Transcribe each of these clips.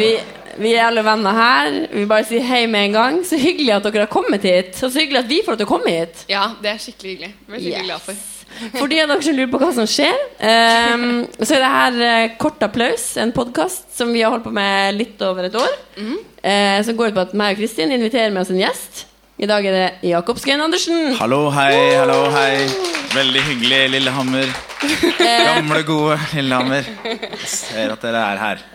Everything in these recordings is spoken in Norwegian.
Vi, vi er alle venner her. Vi bare sier hei med en gang. Så hyggelig at dere har kommet hit. Og så hyggelig at vi får lov til å komme hit. Ja, det er skikkelig hyggelig. Jeg ble skikkelig glad for. For de av dere som lurer på hva som skjer, ehm, så er det her eh, Kort applaus, en podkast som vi har holdt på med litt over et år. eh, som går ut på at meg og Kristin inviterer med oss en gjest. I dag er det Jakob Skøyen Andersen. Hallo, hei, hallo, hei. Veldig hyggelig, Lillehammer. Gamle, gode Lillehammer. Jeg ser at dere er her.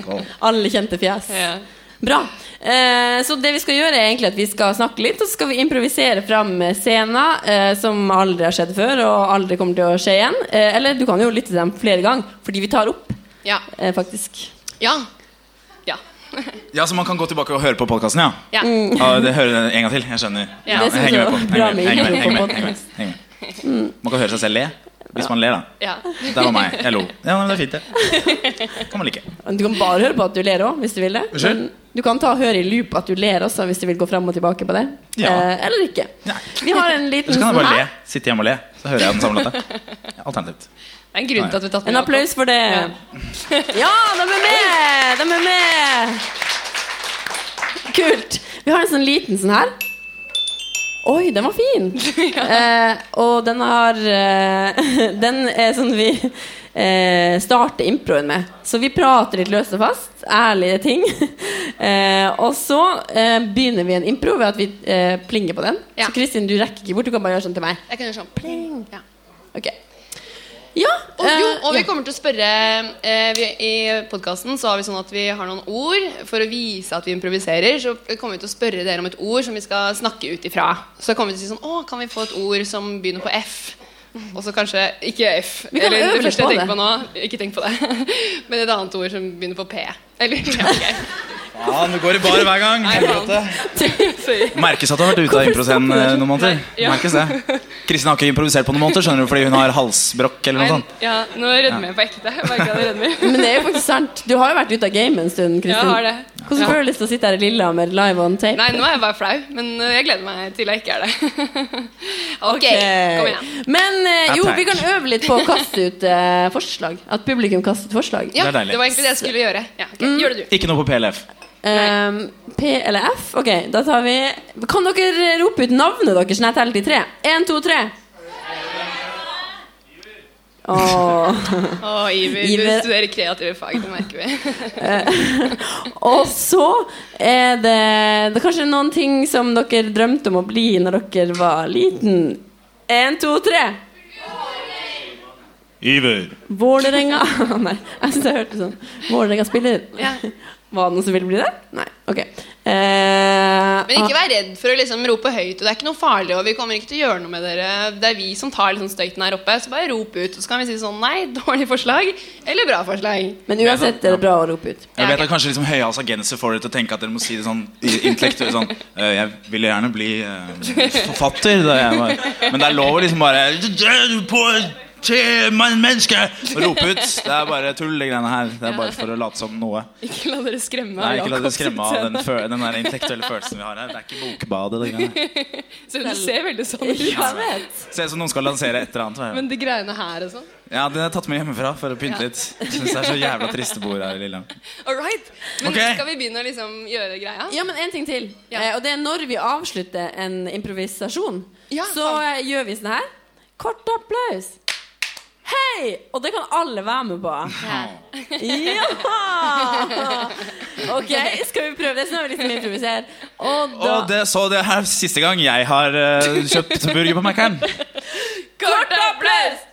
Skål. Alle kjente fjes. Ja. Bra. Eh, så det vi skal gjøre, er egentlig at vi skal snakke litt, og så skal vi improvisere fram scener eh, som aldri har skjedd før, og aldri kommer til å skje igjen. Eh, eller du kan jo lytte til dem flere ganger, fordi vi tar opp, Ja. eh, faktisk. Ja. ja. Ja, så man kan gå tilbake og høre på podkasten, ja? ja. Mm. Ja, det hører jeg en gang til. Jeg skjønner. Ja. jeg Det synes henger jeg med på. var bra Henger med, med henger med, intro på Mm. henger med, henger med, henger med. Man kan høre seg selv le. Hvis man ler, da. ja. Det var meg. Jeg lo. Ja, men det er fint, det. Kan man like. Du kan bare høre på at du ler òg, hvis du vil det. Unnskyld? Men Du kan ta og høre i loop at du ler også, hvis du vil gå fram og tilbake på det. Ja. Eh, eller ikke. Nei. Vi har en liten Så kan jeg sånn bare le. her. Sitte hjemme og le. Så hører jeg den samme låta. Alternativt. Det er en grunn til at vi har tatt med En Jakob. applaus for det. Ja. Ja, de er med! De er med! Kult. Vi har en sånn liten sånn her. Oi, den var fin! eh, og den har eh, Den er sånn vi eh, starter improen med. Så vi prater litt løst og fast. Ærlige ting. eh, og så eh, begynner vi en impro ved at vi eh, plinger på den. Ja. Så Kristin, du rekker ikke bort. Du kan bare gjøre sånn til meg. Jeg kan gjøre sånn pling. Ja. Ok Ja. Og, jo, eh, og vi ja. kommer til å spørre eh, vi, I podkasten så har vi sånn at vi har noen ord for å vise at vi improviserer. Så kommer vi til å spørre dere om et ord som vi skal snakke ut ifra. Så kommer vi til å si sånn Å, kan vi få et ord som begynner på F? Og så kanskje ikke F. Vi kan øve det litt første jeg på tenker på nå. Ikke tenk på det. Men et annet ord som begynner på P. Eller ja, ok. Faen, du går i bar hver gang. Helvete. Sorry. Merkes at du har vært ute av Hvorfor improscenen stopper du? eh, noen måneder. Nei, ja. Merkes det Kristin har ikke improvisert på noen måneder skjønner du fordi hun har halsbrokk. eller noe Men, sånt ja, nå rødmer jeg på ekte. Merker jeg det rødmer. Men det er jo faktisk sant. Du har jo vært ute av gamet en stund. Kristin Ja, jeg har det. Hvordan får du lyst til å sitte her i Lillehammer live on tape? Nei, nå er jeg bare flau, men eh, jeg gleder meg til jeg ikke er det. ok, Eh, kom igjen. Men eh, jo, Ja, takk. vi kan øve litt på å kaste ut eh, forslag. At publikum kaster ut forslag. Ja, Det er det, deilig. var egentlig det jeg skulle gjøre. Mm. Ja, ok, Gjør det du. Ikke noe på PLF. Ehm, P eller F? Ok, da tar vi Kan dere rope ut navnet deres når jeg teller til tre? Én, to, tre. Åh. Å, Iver, Iver. du studerer kreative fag, det merker vi. Og så er det, det er kanskje noen ting som dere drømte om å bli når dere var liten. Én, to, tre. Iver. Vålerenga Nei, jeg syns jeg hørte sånn. Vålerenga spiller. Ja. Var det noen som ville bli det? Nei. Ok. Eh, Men ikke vær redd for å liksom rope høyt. Og det er ikke noe farlig, og vi kommer ikke til å gjøre noe med dere. Det er vi som tar liksom støyten her oppe, så bare rop ut. Så kan vi si sånn nei, dårlig forslag, eller bra forslag. men uansett er det bra å rope ut. Jeg Ja, vet ok. at kanskje liksom Høyhals agenser får dere til å tenke at dere må si det sånn i- intellektuelt. Sånn, «Eh, jeg ville gjerne bli eh, forfatter da jeg var Men det er lov å liksom bare «Du på til men- menneske og rope ut. Det er bare tull, de greiene her. Det er bare for å late som noe. Ikke la dere skremme Nei, av ikke la dere Jakobs skremme av den, utseende. fø- den der intellektuelle følelsen vi har her. Det er ikke bokbadet. det greiene her. Selv om det ser veldig sånn ut. Jeg vet. Ser ut som noen skal lansere et eller annet. hva er det? Men de greiene her og sånn. Ja, den er tatt med hjemmefra for å pynte litt. Jeg synes det er så jævla triste bord her i Lillehammer. All right. Men Ok. skal vi begynne å liksom gjøre greia? Ja, men en ting til. Ja. Eh, og det er når vi avslutter en improvisasjon, Ja, så eh, gjør vi sånn her. Kort applaus. Hei! Og det kan alle være med på. Ja! Ok, skal vi prøve det? Så nå er vi liksom improvisere. Og da Og det, så det her siste gang jeg har eh, kjøpt burger på Mac-en. Kort applaus!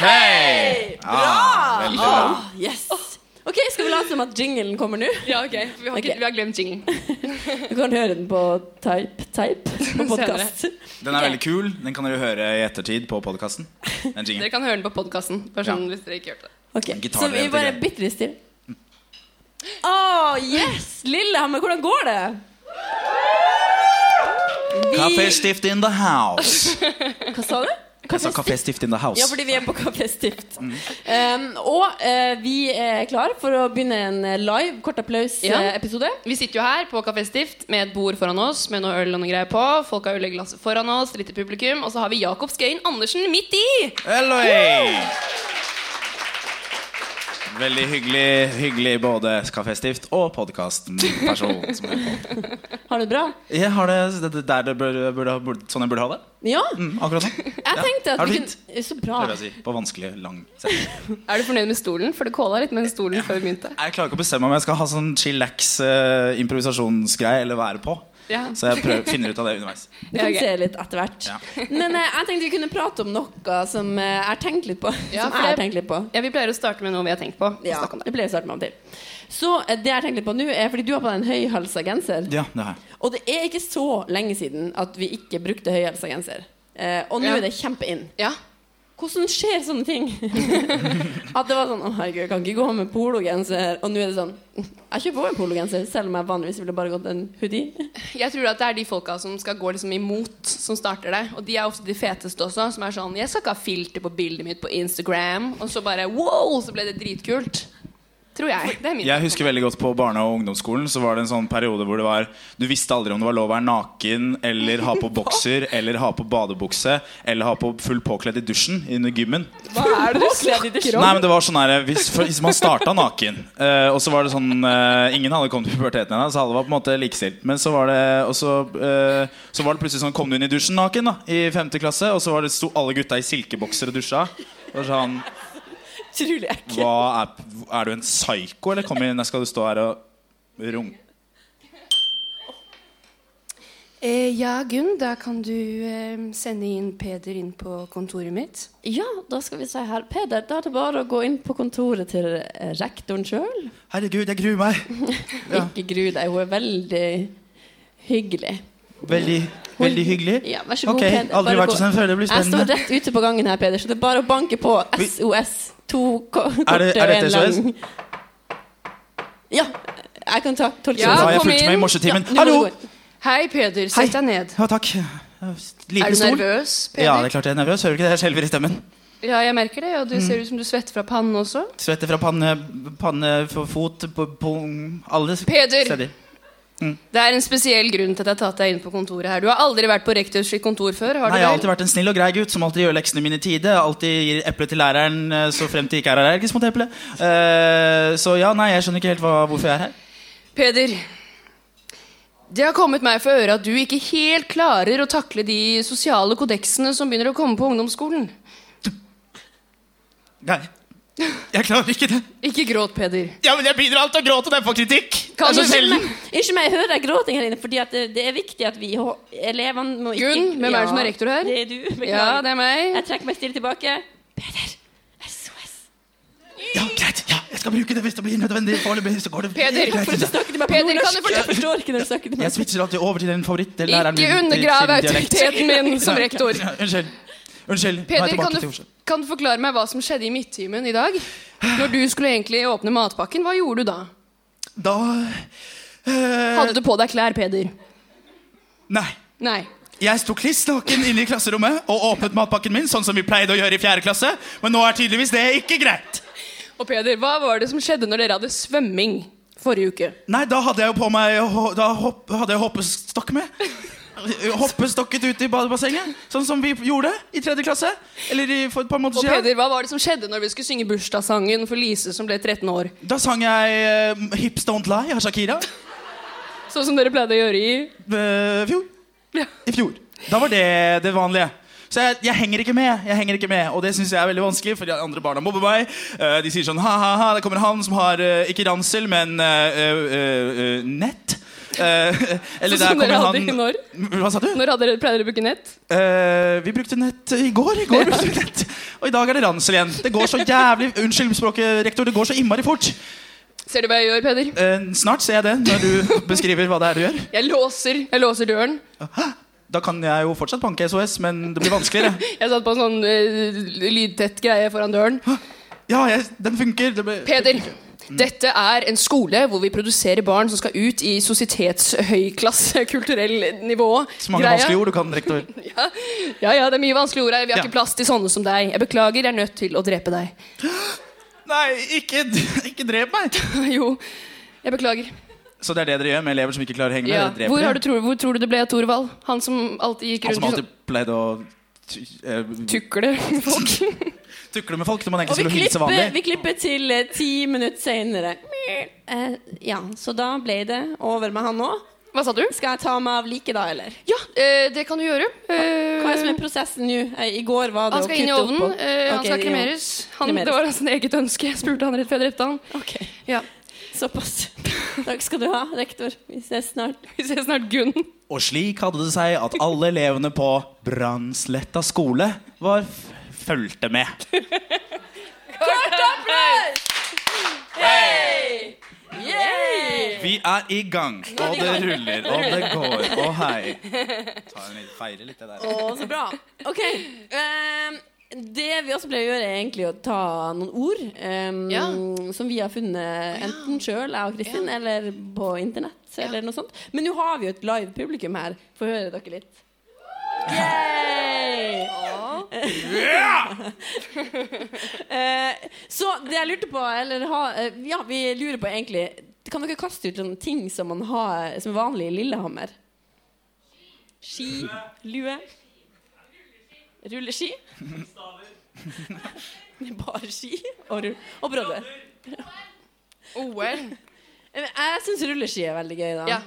Hei! Bra! Ah, veldig bra. Ah, yes. Ok, Skal vi late som at jinglen kommer nå? Ja, ok. for Vi har, ikke, Ok. vi har glemt jinglen. Du kan høre den på type, type på podkast. Den er veldig kul. Den kan dere høre i ettertid på podkasten. Den Dere jingelen. kan høre den på podkasten. Bare sånn Ja. hvis dere ikke hørte det. Ok, Gitar Så er vi helt bare grei. bitte litt stille. Å, Ah, yes! Lillehammer, hvordan går det? Vi, Kaféstift in the house. hva sa du? Jeg sa kaféstift in the house. Ja, fordi vi er på Kafé Stift. Mm. Um, og eh, vi er klar for å begynne en eh, live kort eh, Ja. applaus-episode. Vi sitter jo her på Kafé Stift med et bord foran oss med noe øl og noe greier på. Folk har øleglass foran oss, lite publikum. Og så har vi Jakob Skøyen Andersen midt i! Eloi! Veldig hyggelig, hyggelig både kaféstift og podkastperson. som hører på. Har du det bra? Jeg har det det- det der det burde, burde, burde, sånn jeg burde ha det. Ja. Mm, akkurat sånn. Jeg tenkte at Har vi du fint? kunne Ah. Så bra. Prøver jeg å si. På vanskelig, lang setning. Er du fornøyd med stolen? For du kåla litt med den stolen før vi begynte. Jeg klarer ikke å bestemme om jeg skal ha sånn chillax eh, improvisasjonsgreie eller være på. Ja. Så jeg prøver, finner ut av det underveis. Du kan Ja, ok. se litt etter hvert. Ja. Men eh, jeg tenkte vi kunne prate om noe som eh, jeg har tenkt litt på. Ja, for som jeg det- har tenkt litt på. Ja, Vi pleier å starte med noe vi har tenkt på. Ja, Snakk om det det. ble jeg startet med om til. Så eh, det jeg tenkte litt på nå, er fordi du har på deg en høyhalsa genser. Ja, det har jeg. Og det er ikke så lenge siden at vi ikke brukte høyhalsa genser. Eh, og nå Ja. er det kjempeinn. Ja. Hvordan skjer sånne ting? At det var sånn Å, herregud, jeg kan ikke gå med pologenser. Og nå er det sånn Jeg kjøper også en pologenser, selv om jeg vanligvis ville bare gått en hoodie. Jeg tror at det er de folka som skal gå liksom imot, som starter det. Og de er ofte de feteste også, som er sånn 'Jeg skal ikke ha filter på bildet mitt på Instagram.' Og så bare wow, så ble det dritkult. Tror jeg. Det er min Jeg husker veldig godt på barne- og ungdomsskolen Så var det en sånn periode hvor det var Du visste aldri om det var lov å være naken Eller ha på bokser, eller ha på badebukse Eller ha på full påkledd i dusjen Inne i gymmen Hva er det du snakker Nei, men det var sånn her Hvis, for, hvis man startet naken eh, Og så var det sånn eh, Ingen hadde kommet til puberteten ennå, Så alle var på en måte likestilt Men så var det Og så, eh, så var det plutselig sånn Kom du inn i dusjen naken da I femte klasse Og så var det, sto alle gutta i silkebokser og dusja Og sånn Utrolig ekkelt. hva er, er du en psyko, eller kom inn, skal du stå her og runke? Eh, ja, Gunn, da kan du eh, sende inn Peder inn på kontoret mitt. Ja, da skal vi se her. Peder, da er det bare å gå inn på kontoret til eh, rektoren sjøl. Herregud, jeg gruer meg. Ja. Ikke gru deg, hun er veldig hyggelig. Veldig, veldig hyggelig. Ja, vær så god, Ok, Peder. aldri Bare vært gå. hos en før, det blir Jeg står spennende. rett ute på gangen her, Peder, så det er bare å banke på Vi- SOS. To ko- Er det- korte er og dette en SOS? lang Ja. Jeg kan ta, tolke Ja, Så det. jeg kom fulgte meg inn. i morsetimen. Ja, nå må Hallo! du gå inn. Hei, Peder. Hei. Sett deg ned. Ja, takk. Er Liten du stol. nervøs, Peder? Ja, det er klart jeg er nervøs. Hører du ikke det? Jeg skjelver i stemmen. Ja, jeg merker det. Og du Mm. ser ut som du svetter fra pannen også. Svetter fra panne, panne for fot, på, på alle s- Peder! steder. Det er en spesiell grunn til at jeg har tatt deg inn på kontoret her. Du har aldri vært på rektors sitt kontor før, har Nei, du jeg har vel? alltid vært en snill og grei gutt som alltid gjør leksene mine i tide. Alltid gir eple til læreren eh, så frem til ikke er allergisk mot eple. Eh, så ja, nei, jeg skjønner ikke helt hva, hvorfor jeg er her. Peder, det har kommet meg for øre at du ikke helt klarer å takle de sosiale kodeksene som begynner å komme på ungdomsskolen. Nei, jeg klarer ikke det. Ikke gråt, Peder. Ja, men jeg begynner alltid å gråte når jeg får kritikk. Altså, Kan det er du så sjelden. Unnskyld meg, jeg hører deg gråting her inne, fordi at det, det er viktig at vi hå- elevene må ikke Gunn, hvem er det som er rektor her? Det er du. Beklager. Ja, det er meg. Jeg trekker meg stille tilbake. Peder, SOS. Ja, greit. Ja, jeg skal bruke det hvis det blir nødvendig. Foreløpig så går det Peder, greit. Du snakker til meg på Peder, kan nordnorsk. du fortell- Jeg forstår ikke når du snakker til Jeg meg. switcher alltid over til en favoritt. til læreren min, eh, Ikke til undergrav sin dialekt. autoriteten min som Nei, rektor. ja, Unnskyld. Unnskyld. Nå er jeg Peder, tilbake kan til du, Oslo. kan du forklare meg hva som skjedde i midttimen i dag? Når du skulle egentlig åpne matpakken, hva gjorde du da? Da eh, Hadde du på deg klær, Peder? Nei. Nei. Jeg sto kliss naken inne i klasserommet og åpnet matpakken min, sånn som vi pleide å gjøre i fjerde klasse, men nå er tydeligvis det ikke greit. Og Peder, hva var det som skjedde når dere hadde svømming forrige uke? Nei, da hadde jeg jo på meg ho- Da hopp, hadde jeg hoppestokk med. Hoppestokket ut i badebassenget, sånn som vi gjorde i tredje klasse. Eller i, for et par måneder Og siden. Peder, hva var det som skjedde når vi skulle synge bursdagssangen for Lise som ble 13 år? Da sang jeg eh, Hips Don't Lie av Shakira Sånn som dere pleide å gjøre i eh, fjor. i fjor. Da var det det vanlige. Så jeg, jeg henger ikke med, jeg henger ikke med og det syns jeg er veldig vanskelig. For de andre barna mobber meg. Eh, de sier sånn ha-ha-ha, det kommer han som har eh, ikke ransel, men eh, eh, eh, nett. Eh, eller Sånn som der dere kommer hadde i han når? Hva sa du? Når hadde dere, pleide dere å bruke nett? Eh, vi brukte nett i går. I går brukte vi nett. Og i dag er det ransel igjen. Det går så jævlig Unnskyld språket, rektor. Det går så innmari fort. Ser du hva jeg gjør, Peder? Eh, snart ser jeg det når du beskriver hva det er du gjør. Jeg låser, jeg låser døren. Hæ? Da kan jeg jo fortsatt banke SOS, men det blir vanskeligere. Jeg satt på en sånn eh, lydtett greie foran døren. Ja, jeg, den funker. Det ble... Peder, dette er en skole hvor vi produserer barn som skal ut i sosietetshøyklasse, kulturell nivå. Så mange Greia. vanskelige ord du kan, rektor. Ja. ja, ja, det er mye vanskelige ord her. Vi har Ja. ikke plass til sånne som deg. Jeg beklager, jeg er nødt til å drepe deg. Nei, ikke, ikke drep meg! jo, jeg beklager. Så det er det dere gjør med elever som ikke klarer å henge med? Ja. Dere dreper Hvor, har dem? du tro, hvor tror du det ble av Torvald? Han som alltid gikk Han rundt som i sånn- alltid pleide å tu- eh, Tukle folk. tukle med folk når Og man egentlig vi skulle hilse klipper, vanlig. vi klipper til eh, ti minutter senere. Eh, ja, så da ble det over med han nå. Hva sa du? Skal jeg ta meg av like da, eller? Ja, eh, det kan du gjøre. Eh, Hva er som er prosessen nå? Eh, I går var det han å skal inn i kutte opp ovnen. og- eh, han Ok, skal ja. kremeres. Han, Kremeres. det var hans eget ønske. Jeg spurte han rett før jeg drepte han. Ok, Ja. Såpass. Takk skal du ha, rektor. Vi ses snart. Vi ses snart, Gunn. Og slik hadde det seg at alle elevene på Brannsletta skole var f- fulgte med. Vi er i gang, og det ruller, og det går, og hei. Ta en litt, feire litt det der. Å, så bra. Ok. ehm, det vi også pleier å gjøre, er egentlig å ta noen ord ehm, Ja. som vi har funnet enten sjøl, jeg og Kristin, eller på internett. Eller noe sånt. Men nå har vi jo et live publikum her. Få høre dere litt. Yay! Eh, så det jeg lurte på eller ha, eh, Ja, vi lurer på egentlig Kan dere kaste ut sånne ting som man har Som er vanlig i Lillehammer? Ski, lue Rulleski Det er bare ski og, rull, og brodder OL. Eh, men Jeg synes rulleski er veldig gøy da Ja.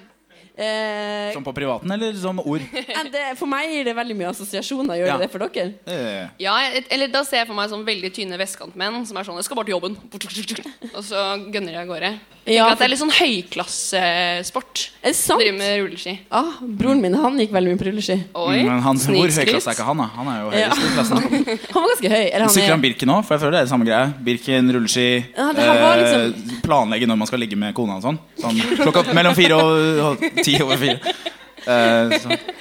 Eh, Som på privaten, eller som ord? eh, det, For meg gir det veldig mye assosiasjoner Gjør Ja. det det for dere? Eh, Ja, et- eller da ser jeg for meg sånn veldig tynne vestkantmenn som er sånn Jeg skal bare til jobben. Og så gønner de av gårde. Jeg Ja, tenker at det for- er litt sånn høyklassesport. Er det å sant? Drive med rulleski. Ah, broren min, han gikk veldig mye på rulleski Oi, Mm, Men han, hvor snikskryt. høyklasse er ikke han, da? Han er jo høyest i Ja. klassen. Han var ganske høy eller han Sikrer er- han Birken nå? For jeg føler det er det samme greia. Birken, rulleski, Ja, det her var liksom- eh, planlegge når man skal ligge med kona og sånn. sånn klokka mellom fire og, og ti over fire. Eh, så. Han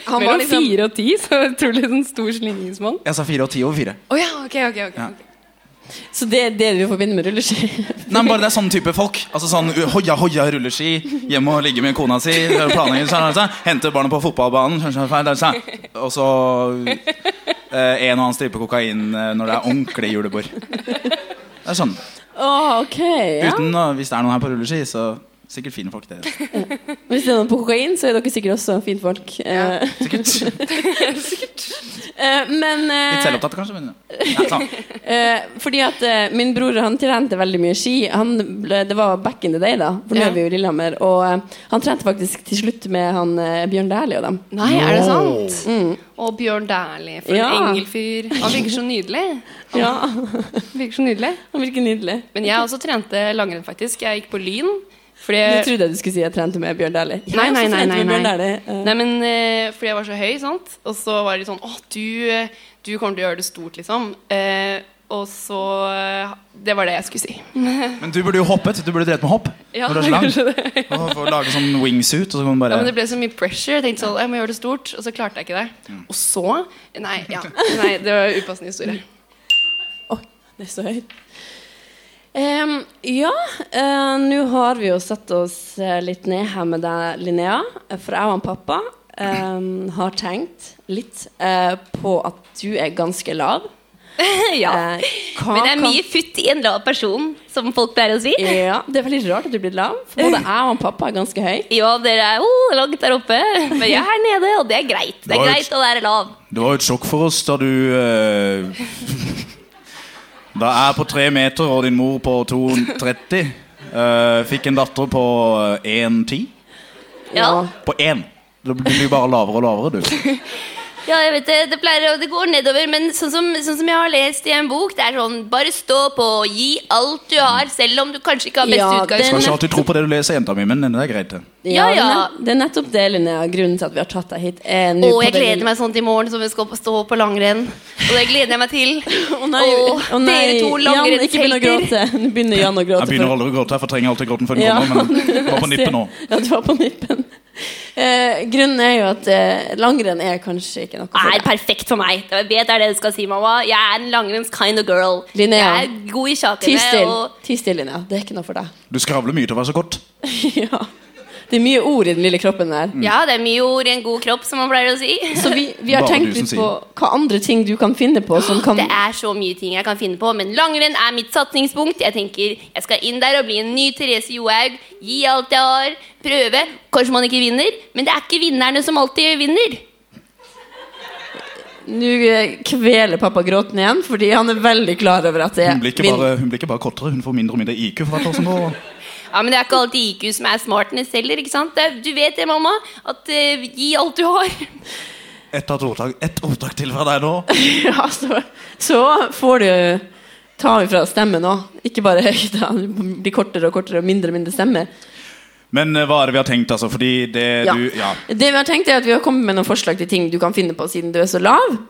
var Mellom liksom fire og ti, så jeg tror det er en stor slingringsmann. Jeg sa fire og ti over fire. Å ja, ok, ok. ok. Ja. Så det er det du forbinder med rulleski? Nei, men bare det er sånn type folk. Altså sånn uh, Hoia, hoia, rulleski. Hjemme og ligge med kona si. Planlegger sånn, sånn. Hente barna på fotballbanen. Sånn, sånn, sånn, sånn. Og så eh, en og annen stripe kokain eh, når det er ordentlig julebord. Det er sånn. Å, ok. Ja. Uten, å- hvis det er noen her på rulleski, så sikkert fine folk. det Hvis det er noen på kokain, så er dere sikkert også finfolk. Eh, Sikkert eh, men Litt eh, selvopptatt, kanskje. Men, ja, sånn. eh, Fordi at eh, min bror han trente veldig mye ski. Han ble, det var back in the day, da. For nå Ja. er vi jo i Lillehammer. Og eh, han trente faktisk til slutt med han eh, Bjørn Dæhlie og dem. Nei, er det Wow. sant? Mm. Og Bjørn Dæhlie, for Ja. en engelfyr. Han virker så nydelig. Ja, Virker så nydelig. Han virker nydelig. Men jeg også trente langrenn, faktisk. Jeg gikk på Lyn. Fordi Du trodde jeg du skulle si jeg trente med Bjørn Dæhlie. Jeg Eh, Nei, også nei, nei, trente nei, med nei. Bjørn Dæhlie, eh. Nei, men eh, fordi jeg var så høy, sant? Og så var det litt sånn Å, du, eh, du kommer til å gjøre det stort, liksom. Eh, og så eh, Det var det jeg skulle si. men du burde jo hoppet. Du burde drevet med hopp. Ja, når du er så lang. kanskje Og få lage sånn wingsuit, og så kan man Ja, bare men det ble så mye pressure. Jeg tenkte sånn Jeg må gjøre det stort. Og så klarte jeg ikke det. Mm. Og så Nei, ja. Nei, det var en upassende historie. Oi, det er så høyt. Em, ja, eh, nå har vi jo satt oss eh, litt ned her med deg, Linnea. For jeg og han pappa em, har tenkt litt eh, på at du er ganske lav. Eh, hva Men det er kan- mye futt i en lav person, som folk pleier å si. Ja, det er veldig rart at du blir lav. For både jeg og han pappa er ganske høy. Ja, dere er oh, langt der oppe, men jeg er her nede, og det er greit. Det er Right. greit å være lav. Det var jo et sjokk for oss da du eh, Da jeg på tre meter og din mor på 2,30 eh, fikk en datter på 1,10. Ja. På 1. Du blir jo bare lavere og lavere, du. Ja, jeg vet det, det pleier å, det går nedover, men sånn som, sånn som jeg har lest i en bok, det er sånn, bare stå på, gi alt du har, selv om du kanskje ikke har best Ja, utgangspunkt. den- Skal ikke alltid tro på det du leser, jenta mi, men det er greit. det. Ja, det er ja. nett- Det er nettopp det, Linnea. Grunnen til at vi har tatt deg hit. Er Å, jeg gleder meg sånn til i morgen som vi skal på- stå på langrenn. Og det gleder jeg meg til. Å Nei, å nei, dere to Jan, ikke begynn å langrennshelter. gråte. Nå begynner Jan å gråte. Jeg begynner for- aldri å gråte, jeg fortrenger alltid gråten før den Ja. kommer. Men det var på nippet nå. Ja, du var på nippen. Eh, grunnen er jo at eh, langrenn er kanskje ikke noe for er deg. perfekt for meg. Jeg vet det er det du skal si, mamma. Jeg er en langrenns kind of girl. Linnea, Jeg er god i Ti sjakene. still, Og ti still Linnea. Det er ikke noe for deg. Du skravler mye til å være så kort. ja. Det er mye ord i den lille kroppen der. ja, det er mye ord i en god kropp, som man pleier å si. Så vi, vi har Bare tenkt du som litt på hva andre ting du kan finne på som kan Det er så mye ting jeg kan finne på, men langrenn er mitt satsingspunkt. Jeg tenker jeg skal inn der og bli en ny Therese Johaug. Gi alt jeg har. Prøve. Kanskje man ikke vinner, men det er ikke vinnerne som alltid vinner. Nå eh, kveler pappa gråten igjen, fordi han er veldig klar over at det Hun blir, ikke vil- bare, hun blir ikke bare kortere, hun får mindre og mindre IQ for hvert år som går. Ja, men det er ikke alltid IQ som er smartness heller, ikke sant? Det er- Du vet det, mamma, at eh, gi alt du har. Ett ordtak, ett ordtak til fra deg nå. Ja, så, så får du eh, ta ifra stemmen òg. Ikke bare høyda. Det blir kortere og kortere og mindre og mindre stemmer. Men eh, hva er det vi har tenkt, altså? Fordi det Ja. du Ja. Det vi har tenkt er at vi har kommet med noen forslag til ting du kan finne på siden du er så lav.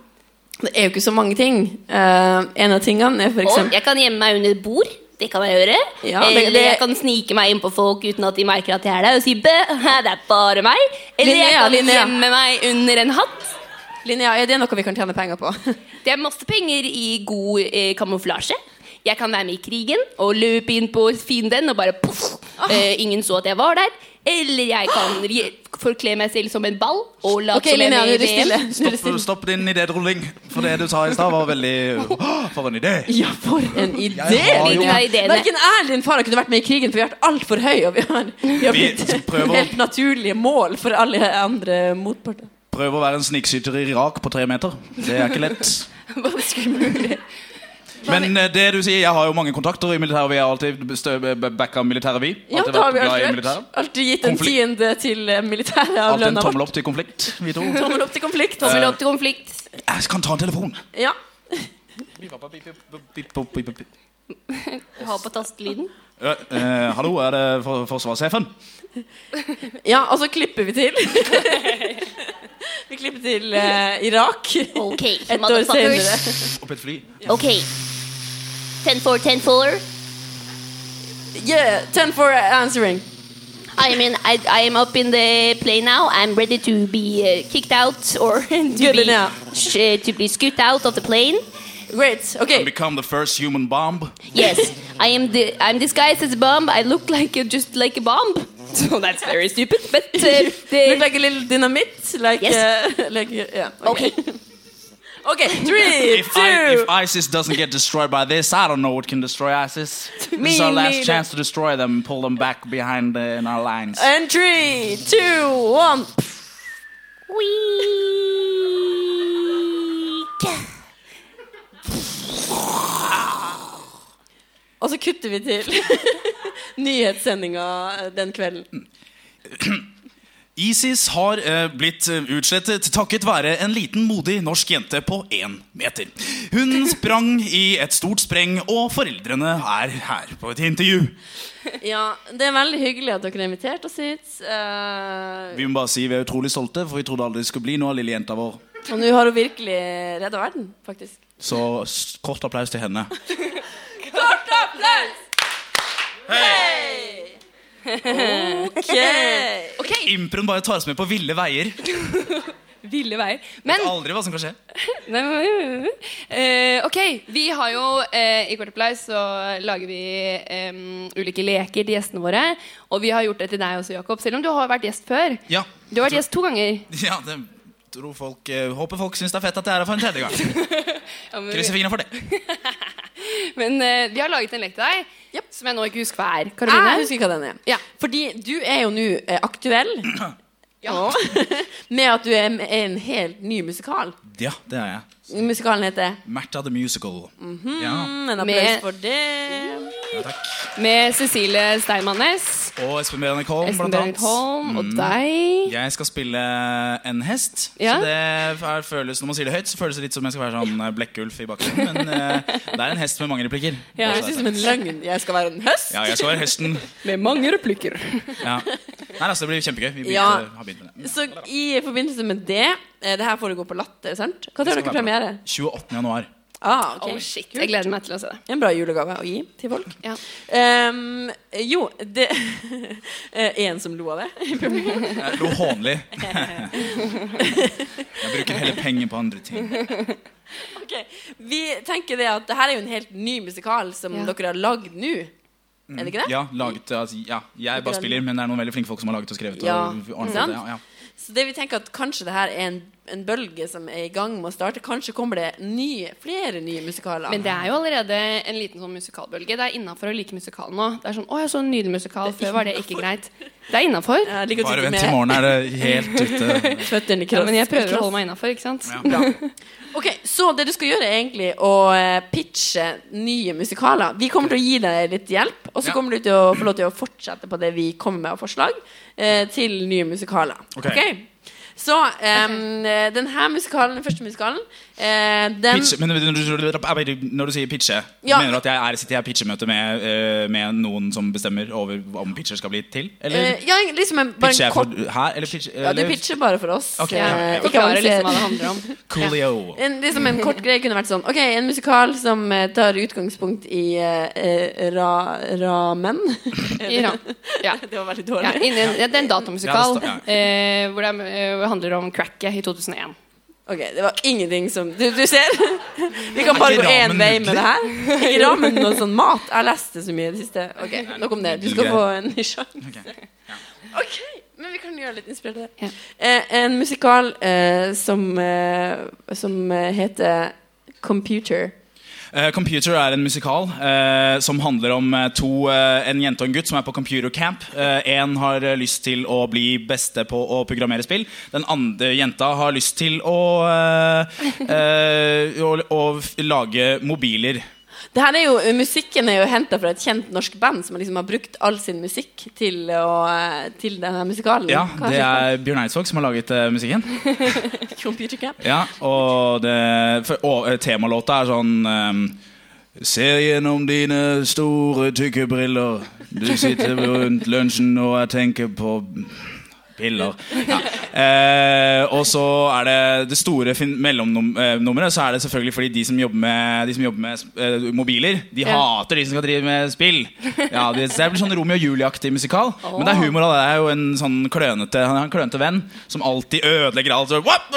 Det er jo ikke så mange ting. Eh, en av tingene er for Og eksempel jeg kan gjemme meg under et bord. Det kan jeg gjøre. Ja, det- Eller jeg det- kan snike meg innpå folk uten at de merker at jeg er der, og si bø, det er bare meg. Eller jeg Linnea, kan Linnea. gjemme meg under en hatt. Linnea, er det noe vi kan tjene penger på? Det er masse penger i god eh, kamuflasje. Jeg kan være med i krigen og løpe inn på fienden og bare poff! Ah. Eh, ingen så at jeg var der. Eller jeg kan re- forkle meg selv som en ball og late Ok, som jeg Linnea, nå er er med du i VM. stille. Nå er du Stopp, stille. stopp din idérulling. For det du sa i stad, var veldig Åh, For en idé! Ja, for en idé! har Linnea. jo- Linnea, ideene. Verken jeg eller din far har kunnet vært med i krigen, for vi har vært altfor høye. Og vi har, vi har Vi blitt prøver å- helt naturlige mål for alle andre motparter. Prøv å være en snikskytter i Irak på tre meter. Det er ikke lett. Men eh, det du sier, jeg har jo mange kontakter i militæret. Vi har alltid stø- b- b- backa militæret, vi. Ja, Alltid da har vært vi glad i alltid vært. militæret. Alltid gitt en Konflikt. tiende til eh, militæret av Alltid en lønna tommel vår. opp til konflikt, vi to. Tommel opp til konflikt. Tommel opp til konflikt. Jeg kan ta en telefon. Ja. Ha på tastelyden. Ja, eh, hallo, er det for forsvarssjefen? ja, og så klipper vi til. vi klipper til eh, Irak. Ok, Et år senere. motherfuckers. Opp et fly. Ok. Ten four, ten four. Yeah, ten for answering. I mean, I, I am up in the play now. I'm ready to be uh, kicked out or to Good be, enough. sh- uh, to be scoot out of the plane. Great. And Ok. become the first human bomb. Yes, I am. The, I'm disguised as a bomb. I look like a, just like a bomb. So that's very stupid. But uh, the, Look like a little dynamite. Like, Yes. eh, like eh, yeah. okay. Ok, three, If, I, two if ISIS doesn't get destroyed by this, I don't know what can destroy ISIS. This is our last neither. chance to destroy them and pull them back behind uh, in our lines. And three, two, one. Weak. Og så kutter vi til nyhetssendinga eh, den kvelden. ISIS har eh, blitt eh, utslettet takket være en liten modig norsk jente på én meter. Hun sprang i et stort spreng, og foreldrene er her på et intervju. Ja, det er veldig hyggelig at dere har invitert oss hit. eh, Vi må bare si vi er utrolig stolte, for vi trodde aldri det skulle bli noe av lille jenta vår. og nå har hun virkelig redda verden, faktisk. Så s- kort applaus til henne. Kort applaus! Hei! Ok. Improen bare tar oss med på ville veier. Ville veier. Vet aldri hva som kan skje. Nei, men, øh, øh. Eh, ok, vi har jo eh, i Kort applaus så lager vi em, ulike leker til gjestene våre. Og vi har gjort det til deg også, Jakob. Selv om du har vært gjest før. Ja. Du har vært gjest to ganger. Ja, det tror folk eh, Håper folk syns det er fett at jeg er her for en tredje gang. Ja, men, Krysser fingrene for det. men eh, vi har laget en lek til deg Japp. som jeg nå ikke husker hva er. Jeg Karoline? husker hva den er. Ja. Fordi du er jo nå eh, aktuell. Og- Med at du er med i en helt ny musikal. Ja, det er jeg. Musikalen heter Mm, Märtha the Musical. Mhm. ja. En Med- applaus for det. ja, takk. Med Cecilie Steinmannes, Og Espen Bjørnik Holm, Espen blant Berit annet. Holm og deg. Jeg skal spille en hest. Ja. Så det er, føles, Når man sier det høyt, så føles det litt som jeg skal være sånn eh, blekkulf i bakgrunnen. Men eh, det er en hest med mange replikker. Ja, Bare Det høres ut så det er som en løgn. Jeg skal være en høst. sagt. ja, jeg skal være hesten. Med mange replikker. Ja. Nei, altså, det blir kjempegøy. Vi begynte, Ja. har begynt med det. Så i forbindelse med det eh, Det her foregår på Latter, sant? Hva tror Det dere skal være premiere? på 28. januar. Ah, ok. Oh, shit. Jeg gleder meg til å se det. En bra julegave å gi til folk. Ja. Ehm, jo, det eh, En som lo av det. Jeg lo hånlig. Jeg bruker heller penger på andre ting. Ok, Vi tenker det at det her er jo en helt ny musikal som Ja. dere har lagd nå. Er det ikke det? Ja, laget, altså, ja, jeg bare spiller, men det er noen veldig flinke folk som har laget og skrevet. Ja, Og ordnet sant? det, ja, ja. Så det vi tenker at kanskje det her er en, en bølge som er i gang med å starte. Kanskje kommer det nye, flere nye musikaler. Men det er jo allerede en liten sånn musikalbølge. Det er innafor å like musikal nå. Det er sånn, å, jeg så en nydelig musikal, Før var det ikke greit. Det er innafor. jeg liker å Bare sitte vent til med morgen er det helt ute. føttene Ja, i kross. men jeg prøver å holde meg innafor, ikke sant? Ok, Så det du skal gjøre, er egentlig å eh, pitche nye musikaler. Vi kommer til å gi deg litt hjelp, og så Ja. kommer du til å få lov til å fortsette på det vi kommer med av forslag eh, til nye musikaler. Ok. Ok? Så um, denne musikalen, den første musikalen eh, den, Pitche, men når du sier pitche, Ja. mener du at jeg er, sitter jeg i pitchemøte med, eh, med noen som bestemmer over om pitcher skal bli til? Eller eh, Ja, liksom en, bare pitcher en jeg for, kort her? Eller pitcher, Ja, du eller- pitcher bare for oss. Ok, ja, ja, ja. Eh, Ikke Forklarer liksom hva det avanser. handler om. Coolio. En, liksom en kort greie kunne vært sånn Ok, en musikal som eh, tar utgangspunkt i eh, eh, ra, ramen. I ram. Ja. det var veldig Ja, dårlig. innen, ja, det er en datamusikal Ja, det står- eh, hvor det er, eh, handler om cracket i 2001. Ok, det var ingenting som Du, du ser? Vi kan bare Ikke gå én ramen vei med nudler? det her. Ikke ramen noe sånn mat. Jeg har lest det så mye i det siste. Ok, Nok om det. Du skal få en ny sjanse. Ok. Ok, men vi kan gjøre litt inspirert av det. Eh, en musikal eh, som, eh, som eh, heter Computer. Eh, Computer er en musikal eh, som handler om eh, to, eh, en jente og en gutt som er på computer camp. Eh, en har eh, lyst til å bli beste på å programmere spill. Den andre jenta har lyst til å, eh, eh, å, å f- lage mobiler. Det her er jo, eh, musikken er jo henta fra et kjent norsk band som liksom har brukt all sin musikk til, å, eh, til denne musikalen. Ja, Hva det heter er Bjørn Eidsvåg som har laget eh, musikken. den? Computer Camp. Ja, og, det, for, og eh, temalåta er sånn ehm, Ser gjennom dine store, tykke briller. Du sitter rundt lunsjen og jeg tenker på piller. Ja. Eh, og så er det det store fin- mellomnummeret. Så er det selvfølgelig fordi de som jobber med, de som jobber med eh, mobiler, de hater de som skal drive med spill. Ja, det, så det blir sånn Romeo og Julie-aktig musikal. Men det er humor. da. Det er jo en sånn klønete, han er en klønete venn som alltid ødelegger alt. Så, «Wap!»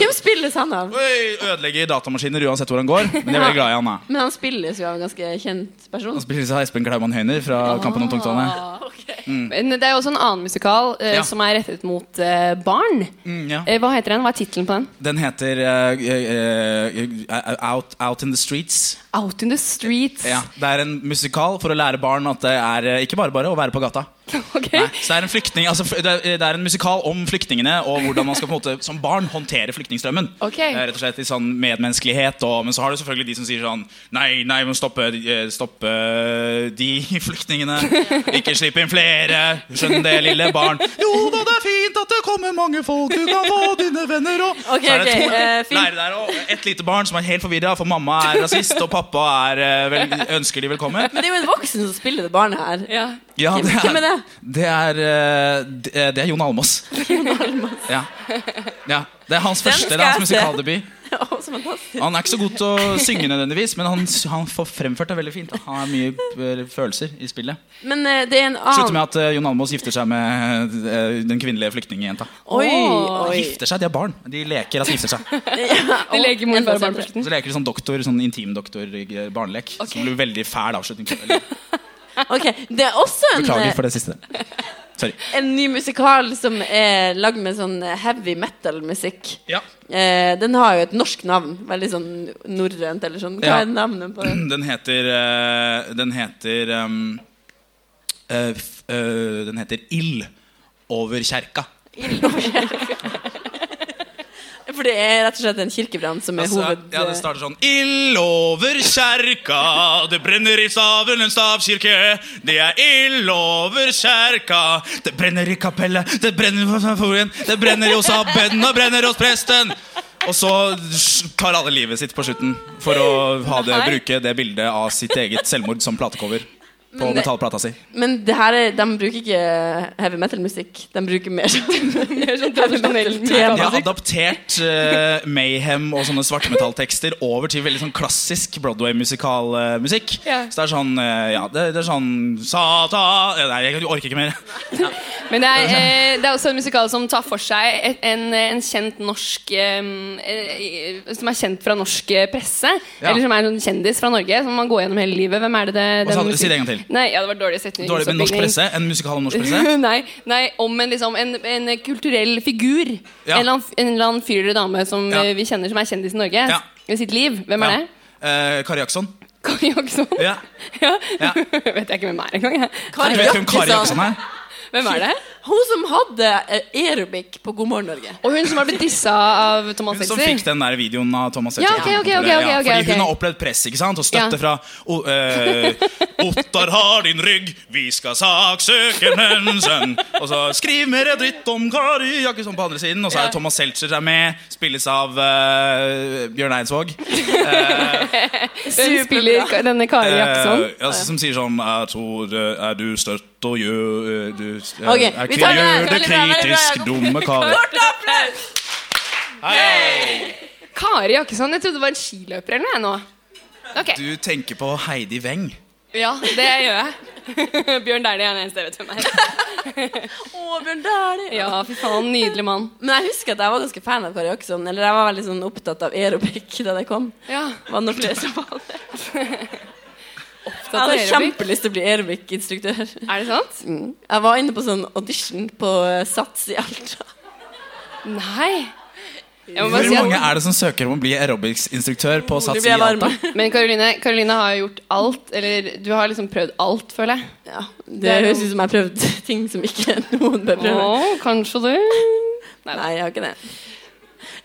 Hvem spilles han av? Oi, ødelegger datamaskiner uansett hvor han går. Men jeg er veldig glad i han. da Men han spilles jo av en ganske kjent person. Han spilles av Espen Klaumann Høyner fra Kampen om tungtvannet. Men det er jo også en annen musikal eh, Mm. Ja. som er rettet mot eh, barn. Mm, ja. Eh, hva heter den? Hva er tittelen på den? Den heter eh, eh, eh, out, out in the Streets. Out in the Streets. Ja, det er en musikal for å lære barn at det er eh, ikke bare bare å være på gata. Ok. Nei, så det er, en flyktning, altså, fl- det er det er en musikal om flyktningene og hvordan man skal på en måte som barn håndtere flyktningstrømmen. Ok. Eh, Rett og slett i sånn medmenneskelighet og, Men så har du selvfølgelig de som sier sånn Nei, nei, men stoppe, eh, stoppe de flyktningene. Ikke slipp inn flere. Skjønn det, lille barn. Jo da, det er fint at det kommer mange folk. Du kan få dine venner og Ok, Så er ok, det to eh, fint. lærere der og et lite barn som er helt forvirra, for mamma er rasist, og pappa er, eh, vel, ønsker de velkommen. Men det er jo en voksen som spiller det barnet her. Ja, Hvem- hvem er det? Det er, eh, det er, det er Jon Almås. Ja. ja. Det er hans Den første det skal er hans jeg se. musikaldebut. Å, så fantastisk. Han er ikke så god til å synge, nødvendigvis men han, han får fremført det veldig fint. da. Han har mye eh, følelser i spillet. Men eh, det er en Slutter annen med at eh, Jon Almås gifter seg med eh, den kvinnelige flyktningjenta. Oi, oi. Gifter seg, De har barn. De leker at de gifter seg. De leker mot bare barn på Så leker de sånn doktor, sånn intimdoktor-barnelek. Som blir veldig fæl avslutning. på- eller, Ok, Det er også en, eh, Beklager for det siste. Sorry. en ny musikal som er lagd med sånn heavy metal-musikk. Ja. Eh, den har jo et norsk navn. Veldig sånn norrønt eller sånn. Hva Ja. er navnet på den? Den heter eh, Den heter ehm, eh, f- eh, Den heter Ild over kjerka. For det er rett og slett en kirkebrann som er Altså, hoved... ja, det starter sånn Ild over kjerka, det brenner i Stavelen stavkirke. Det er ild over kjerka. Det brenner i kapellet, det brenner hos forien, det brenner hos abben og brenner hos presten. Og så tar alle livet sitt på slutten for å ha det, bruke det bildet av sitt eget selvmord som platecover på metallplata si. Men det her er, de bruker ikke heavy metal-musikk. De bruker mer sånn, mer sånn tradisjonell De har sånn temamusikk. adaptert eh, Mayhem og sånne svartmetalltekster over til veldig sånn klassisk Broadway-musikalmusikk. Så det er sånn eh, Ja, det, det er sånn Sata Nei, jeg orker ikke mer. Men det er, eh, det er også en musikal som tar for seg et, en, en kjent norsk em, eh, Som er kjent fra norsk eh, presse. Ja. Eller som er en kjendis fra Norge. Som man går gjennom hele livet. Hvem er det det Hva sa den du? Si det en musik- gang til. Nei, ja, det var dårlig setning. Dårlig med norsk presse? En musikal om norsk presse? nei, nei, om en, liksom, en, en kulturell figur. En, Ja. eller annen, en eller annen fyr eller dame som Ja. eh, vi kjenner som er kjendis i Norge. Ja. I sitt liv. Hvem er Ja. det? Eh, Kari Jaksson? Kari Jaksson? Ja. Ja. Ja. Vet jeg ikke hvem er engang. jeg. Du vet hvem Kari Jaksson er? Hvem er det? Hun som hadde eh, aerobic på God morgen Norge. Og hun som har blitt dissa av Thomas Hun som Seltzer. fikk den der videoen av Thomas Ja, ok, Seltzer. ok, ok, ok, ok, fordi ok. hun har opplevd press ikke sant? og Ja. støtte fra o- eh, Ottar har din rygg, vi skal saksøke mensen. Og så skriv mer dritt om Kari Jakkesson på andre siden. Og så er det Thomas Seltzer er med, spilles av eh, Bjørn Eidsvåg. Hun spiller ka- denne Kari Jaksson. Eh, altså, som sier sånn Jeg tror eh, Er du støtt og gjør eh, du, eh, Ok, er vi kri- tar det her. gjør det Veldig bra, veldig bra. kritisk, dumme Kari. Kort applaus! Hei. Kari Jakkesson, jeg trodde det var en skiløper eller noe. jeg, nå. Du tenker på Heidi Weng. Ja, det gjør jeg. Bjørn Dæhlie er den eneste jeg vet hvem er. Å, Bjørn Dæhlie. Ja, fy faen, nydelig mann. Men jeg husker at jeg var ganske fan av Kari Jakkesson. Eller jeg var veldig sånn opptatt av aerobic da det kom. Ja, Var det noen flere som var det? Jeg av hadde aerobic? kjempelyst til å bli aerobic-instruktør. Er det sant? Jeg var inne på sånn audition på eh, Sats i Alta. Nei. Jeg må bare Hvor si mange at, er det som søker om å bli aerobicsinstruktør på Nå Sats i blir jeg varm. Alta? men Karoline, Karoline har jo gjort alt, eller du har liksom prøvd alt, føler jeg. Ja, det, er høres jo- ut som jeg har prøvd ting som ikke noen bør prøve. Å, kanskje du Nei, jeg har ikke det.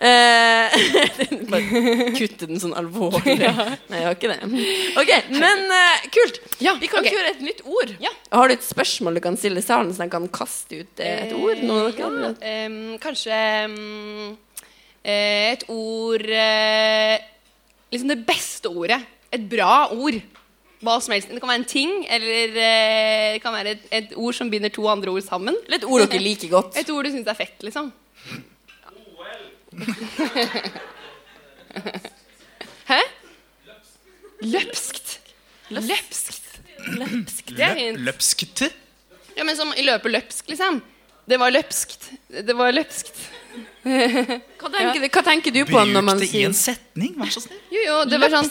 Eh, bare kutte den sånn alvorlig. Nei, jeg har ikke det. Ok, Men eh, kult! Ja, Vi kan ok. ikke gjøre et nytt ord. Ja. Har du et spørsmål du kan stille salen, så de kan kaste ut eh, et ord? Noen av dere andre? Em, kanskje em, eh, et ord eh, Liksom det beste ordet. Et bra ord. Hva som helst. Det kan være en ting, eller eh, det kan være et, et ord som binder to andre ord sammen. Eller et ord dere liker godt. Et ord du syns er fett, liksom. Hæ? Løpskt. Løpskt. Det er fint. Løpskete? Ja, men som i løpet løpsk, liksom. Det var løpskt. Det var løpskt. Hva tenker, hva tenker du på når Bruk man det i sier en setning, vær så snill. Jo, jo, det var sånn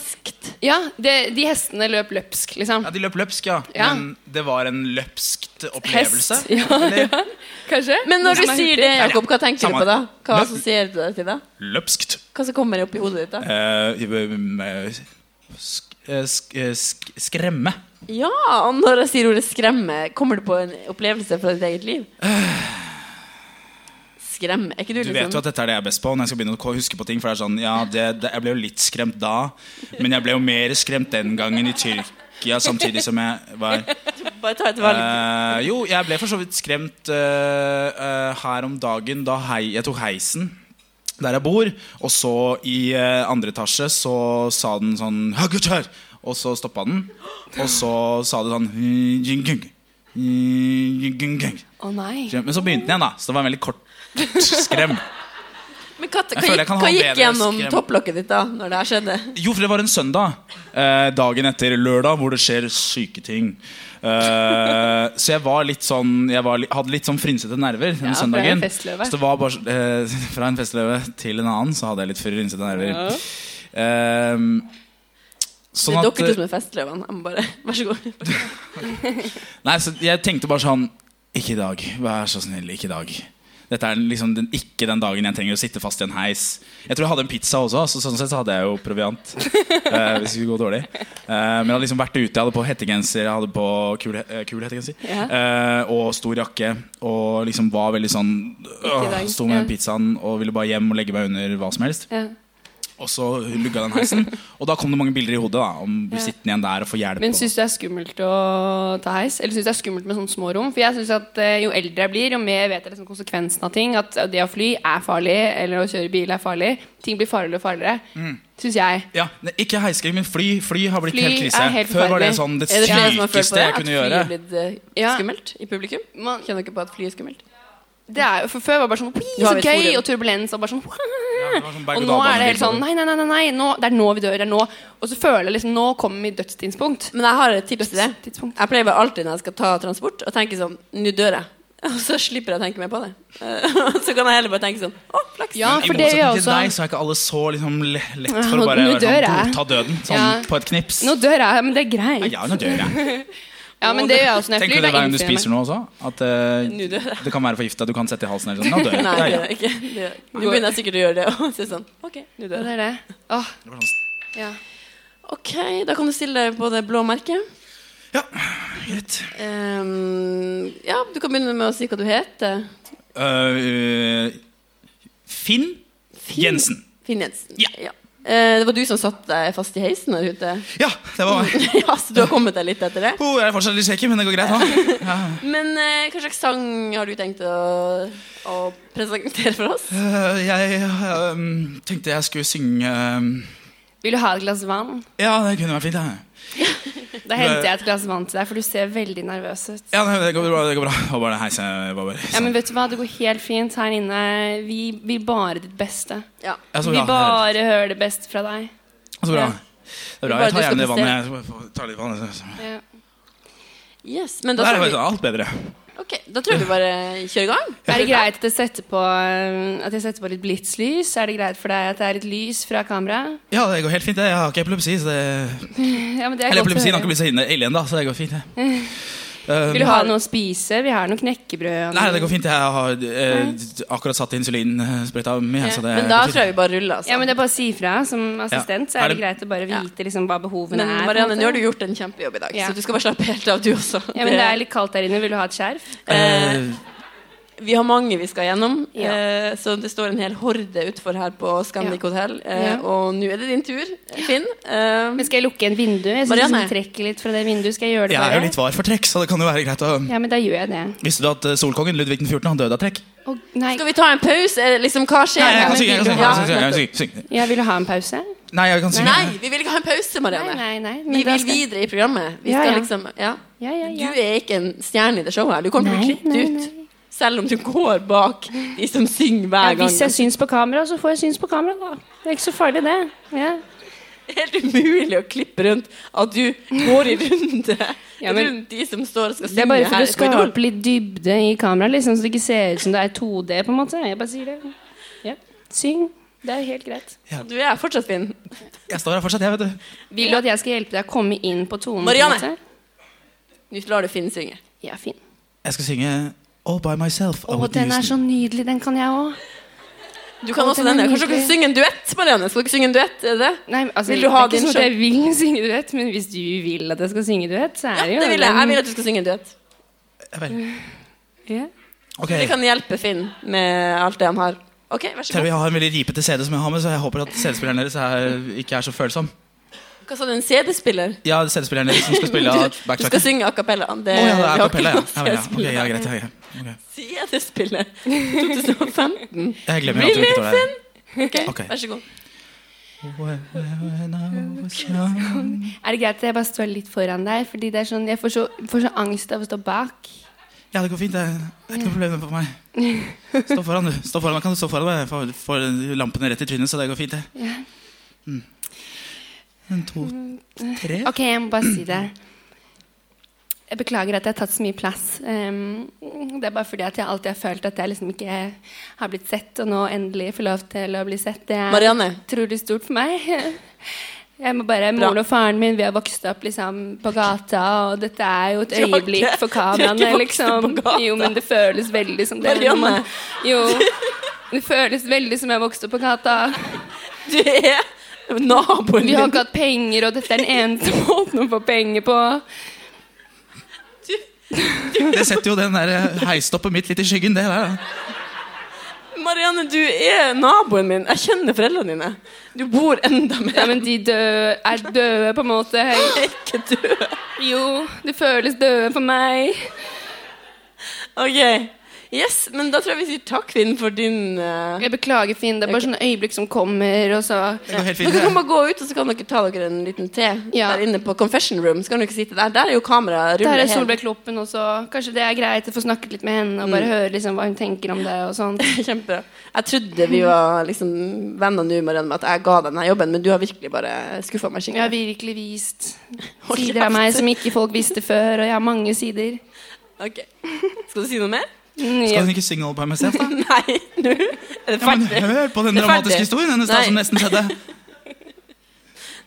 Ja, det, de hestene løp løpsk, liksom. Ja, De løp løpsk, ja. Ja. Men det var en løpskt opplevelse. Hest, ja, Eller? Kanskje? Men når du sier det, Jakob, hva tenker du Samme. på da? Hva Løp- assosierer du deg til da? Løpskt. Hva som kommer opp i hodet ditt da? Eh, um, eh, sk eh, sk eh, sk skremme. Ja, og når jeg sier ordet skremme, kommer du på en opplevelse fra ditt eget liv? Skremme, er ikke du Eh. Du liksom vet jo at dette er det jeg er best på. Når jeg skal begynne å ko- huske på ting For det er sånn, ja, det, det, Jeg ble jo litt skremt da, men jeg ble jo mer skremt den gangen i Tyrkia samtidig som jeg var Bare ta et valg. Eh, jo, jeg ble for så vidt skremt eh, eh, her om dagen da hei, jeg tok heisen der jeg bor. Og så i eh, andre etasje så sa den sånn «Hå, gutt her!» Og så stoppa den. Og så sa det sånn «Hm, jing, jing, jing, jing, jing». Å nei. Men så begynte den igjen, da. Så det var en veldig kort skrem. Men hva, hva, føler jeg gikk, kan ha hva en gikk bedre gjennom skrem. topplokket ditt da, når det her skjedde? Jo, for det var en søndag. Eh, dagen etter lørdag, hvor det skjer syke ting. Eh, så jeg var litt sånn Jeg var, li- hadde litt sånn frynsete nerver den Ja, fra en søndagen. festløve. så det var bare, så- eh, fra en festløve til en annen så hadde jeg litt frynsete nerver. Ja. Eh, Det sånn er dere to at som er festløvene. Jeg må bare, vær så god. Nei, så jeg tenkte bare sånn Ikke i dag. Vær så snill, ikke i dag. Dette er liksom den, ikke den dagen jeg trenger å sitte fast i en heis. Jeg tror jeg hadde en pizza også, så sånn sett så hadde jeg jo proviant. eh, hvis det skulle gå dårlig. Eh, men jeg hadde liksom vært ute. Jeg hadde på hettegenser, jeg hadde på kul, eh, kul hettegenser. eh, og stor jakke. Og liksom var veldig sånn i dag. øh, Sto med den Ja. pizzaen og ville bare hjem og legge meg under hva som helst. Ja. Og så lugga den heisen. Og da kom det mange bilder i hodet da om å bli sittende igjen der og få hjelp. Men og- syns du det er skummelt å ta heis? Eller syns du det er skummelt med sånne små rom? For jeg syns at eh, jo eldre jeg blir, jo mer vet jeg liksom konsekvensen av ting. At det å fly er farlig, eller å kjøre bil er farlig. Ting blir farligere og farligere. Mm. Syns jeg. Ja, ne, Ikke heiskrig, men fly. Fly har blitt Fly helt krise. er helt Før var det forferdelig. sånn det Er det flere som har følt på sykeste det? jeg At fly kunne gjøre. er blitt eh, Ja. skummelt i publikum? Man, Kjenner dere på at fly er skummelt? det er, jo- for før var det bare sånn «Oi, Du har så et gøy, forum. og turbulens og bare sånn Ja, det var sånn berg- Og og nå er det dalbane- helt sånn Nei, nei, nei, nei, nei nå, det er nå vi dør. Det er nå. Og så føler jeg liksom Nå kommer mitt dødstidspunkt. Men jeg har et tips til det. Tidspunkt. Jeg pleier bare alltid når jeg skal ta transport, å tenke sånn Nå dør jeg. Og så slipper jeg å tenke mer på det. Eh, så kan jeg heller bare tenke sånn Å, flaks! Ja, I for det gjør motsetning jeg til deg også. så er ikke alle så liksom, le- lett Ja, for nå- å bare nå være dør sånn, jeg. godta døden sånn, Ja. på et knips. Nå dør jeg, men det er greit. ja, nå dør jeg. Ja, men det gjør jeg også når jeg Tenker flyr. du det da hver gang du innser jeg meg. spiser noe også? At eh, Nå dør jeg. det kan være forgifta, du kan sette i halsen eller sånn. Nå dør jeg. Nei, Ja, det ja. gjør jeg ikke. Det gjør jeg ikke. Nå begynner jeg sikkert å gjøre det. Og så er det sånn, ok, nå Ja, dør jeg. Det er det. Åh, Det var sånn, ja. Ok, da kan du stille deg på det blå merket. greit. Ehm, ja, du kan begynne med å si hva du heter. Eh, Finn Jensen. Finn Jensen. Ja. Eh, det var du som satt deg fast i heisen der ute. Ja, det var meg. ja, så du har kommet deg litt etter det. Oh, jeg er fortsatt litt shaky, men det går greit nå. Men eh, hva slags sang har du tenkt å, å presentere for oss? Eh, jeg eh, tenkte jeg skulle synge eh, Vil du ha et glass vann? Ja, det kunne vært fint. Ja, Da henter jeg et glass vann til deg, for du ser veldig nervøs ut. ja nei, det, går bra, det går bra. Det var bare heise, var bare Ja, men vet du hva, det går helt fint her inne. Vi vil bare ditt beste. Ja. Ja, så Vi bra. bare hører det beste fra deg. Så bra. Ja. Det er bra. Bare Jeg tar du skal gjerne det vannet. Jeg tar litt vann. så- så- Ja. Yes, men Der da er tror, faktisk vi, alt bedre. ok, da tror jeg vi bare kjører i gang. Er det greit at jeg setter på, eh, at jeg setter på litt blitslys? Er det greit for deg at det er litt lys fra kameraet? Ja, det går helt fint. det. Jeg har ikke epilepsi. Så det... Ja, men det er Eller godt å epilepsien høre. har ikke blitt så ille ille ennå, så det går fint. det. Um, Vil du ha noe å spise? Vi har noe knekkebrød. og Nei, noe- det går fint. Jeg har eh, akkurat satt insulinsprøyta mi. så det Men da går fint. tror jeg vi bare ruller, altså. Ja, men det er bare å si fra. Som assistent så Er er det det- greit å bare vite liksom, hva behovene Men er. på en Marianne, måte. nå har du gjort en kjempejobb i dag, Ja. så du skal bare slappe helt av, du også. Ja, men det er litt kaldt der inne. Vil du ha et skjerf? eh, Eh, Vi har mange vi skal gjennom, Ja. eh, så det står en hel horde utfor her på Scandic Ja. Hotel. Eh, Ja. Og nå er det din tur, Finn. Eh, Men skal jeg lukke en vindu? Jeg synes Marianne. du trekker litt fra det vinduet. Skal jeg gjøre det jeg er bare? jo litt sånn- var for trekk, så det kan jo være greit å Ja, men da gjør jeg det. Visste du at eh, solkongen Ludvig 14. han døde av trekk? Å, nei. skal vi ta en pause? Er det Liksom, hva skjer? Nei, jeg her? kan synge. Jeg Ja, kan synge, jeg kan synge, jeg kan synge, jeg kan synge. Jeg vil ha en pause. Nei, jeg kan synge. Nei, vi vil ikke ha en pause, Marianne. Nei, nei, nei, men vi da vil skal- videre i programmet. Vi Ja, skal ja. liksom, ja. Ja, ja, ja. Du er ikke en stjerne i det showet her. Du kommer til å bli Nei, nei, klippet ut. Selv om du går bak de som Ja, synger hver gang. hvis jeg syns på kamera, så får jeg syns på kamera, da. Det er ikke så farlig, det. Ja. Det er helt umulig å klippe rundt at du går i runde Ja, men- rundt de som står og skal Det synge er bare for her å på Idol. skape litt dybde i kameraet, liksom, så det ikke ser ut som det er 2D, på en måte. Jeg bare sier det. Ja. Syng. Det er helt greit. Du er fortsatt Finn. Jeg står her fortsatt, jeg, vet du. Vil du at jeg skal hjelpe deg å komme inn på tonen? på en Marianne. måte? Nå lar du Finn synge. Ja, fin. Jeg skal synge All by myself. Å, av Whitney den er så Houston. nydelig. Den kan jeg òg. Du kan Å, også den er denne. Kanskje dere nydelig. kan synge en duett, Marianne? Skal dere synge en duett? Er det det? Altså, Vil du det ha er ikke din sånn at sjøl? jeg vil synge duett, men hvis du vil at jeg skal synge duett, så er det jo Det vil jeg. Jeg vil at du skal synge en duett. Ja vel. Ja. sånn- Ok, Mm. Det kan hjelpe Finn med alt det han har. Ok, vær så Selv om god. jeg har en veldig ripete CD som jeg har med, så jeg håper at CD-spilleren deres er, ikke er så følsom. Hva sa du, en CD-spiller? Ja, CD-spilleren deres som skal spille av Du skal backtracker. synge a cappella. Det Å ja, det er vi har ikke kapella, ja. noe ja, vel, ja. Ok, CD-spiller. ja greit, ja, greit. Ok. CD-spiller 2015. Jeg glemmer alltid hvilket år det er. Ok, Ok. Vær så god. When I was young. Er det greit at jeg bare står litt foran deg? Fordi det er sånn, jeg får så, får så angst av å stå bak. Ja, det går fint. Det er ikke noe problem for meg. Stå foran, du. Stå foran meg. Kan du stå foran meg? Jeg får- får lampene rett i trynet, så det går fint, det. Ja. Mm. En, to, tre Ok, jeg må bare si det. Jeg beklager at jeg har tatt så mye plass. Ehm, det er bare fordi at jeg alltid har følt at jeg liksom ikke har blitt sett, og nå endelig får lov til å bli sett. Det er Marianne. utrolig stort for meg. Jeg må bare, Moren og faren min vi har vokst opp liksom, på gata, og dette er jo et Du har ikke- øyeblikk for du har kameraene. ikke vokst opp Liksom. på gata. Jo, men det føles veldig som det. når Marianne. man- Jo, det føles veldig som jeg vokste opp på gata. Du er naboen Vi har min. ikke hatt penger, og dette er den eneste måten å få penger på. Det setter jo den der eh, heistoppet mitt litt i skyggen, det der. da. Marianne, du er naboen min. Jeg kjenner foreldrene dine. Du bor enda mer. Ja, men de døde er døde, på en måte. Jeg er ikke død. Jo, det føles døde for meg. Ok. Yes, men da tror jeg vi sier takk, Finn, for din eh, Jeg beklager, Finn. Det er bare sånne øyeblikk som kommer, og så Det går helt fint. Dere kan det. bare gå ut, og så kan dere ta dere en liten te Ja. der inne på confession room. Så kan dere sitte der. Der er jo kameraet. Der ruller er helt. Solveig Kloppen også. Kanskje det er greit å få snakket litt med henne og Mm. bare høre liksom hva hun tenker om det og sånn. sånt. Kjempebra. Jeg trodde vi var liksom venner nå, Marianne, med at jeg ga deg denne jobben, men du har virkelig bare skuffa meg Jeg har skikkelig. virkelig vist Hold sider av kjeft. meg som ikke folk visste før, og jeg har mange sider. Ok. Skal du si noe mer? Skal hun ikke synge All By Myself, da? Nei, nå er det Ja, men ferdig. hør på den Det er dramatiske ferdig. historien hennes da, Nei. som nesten skjedde.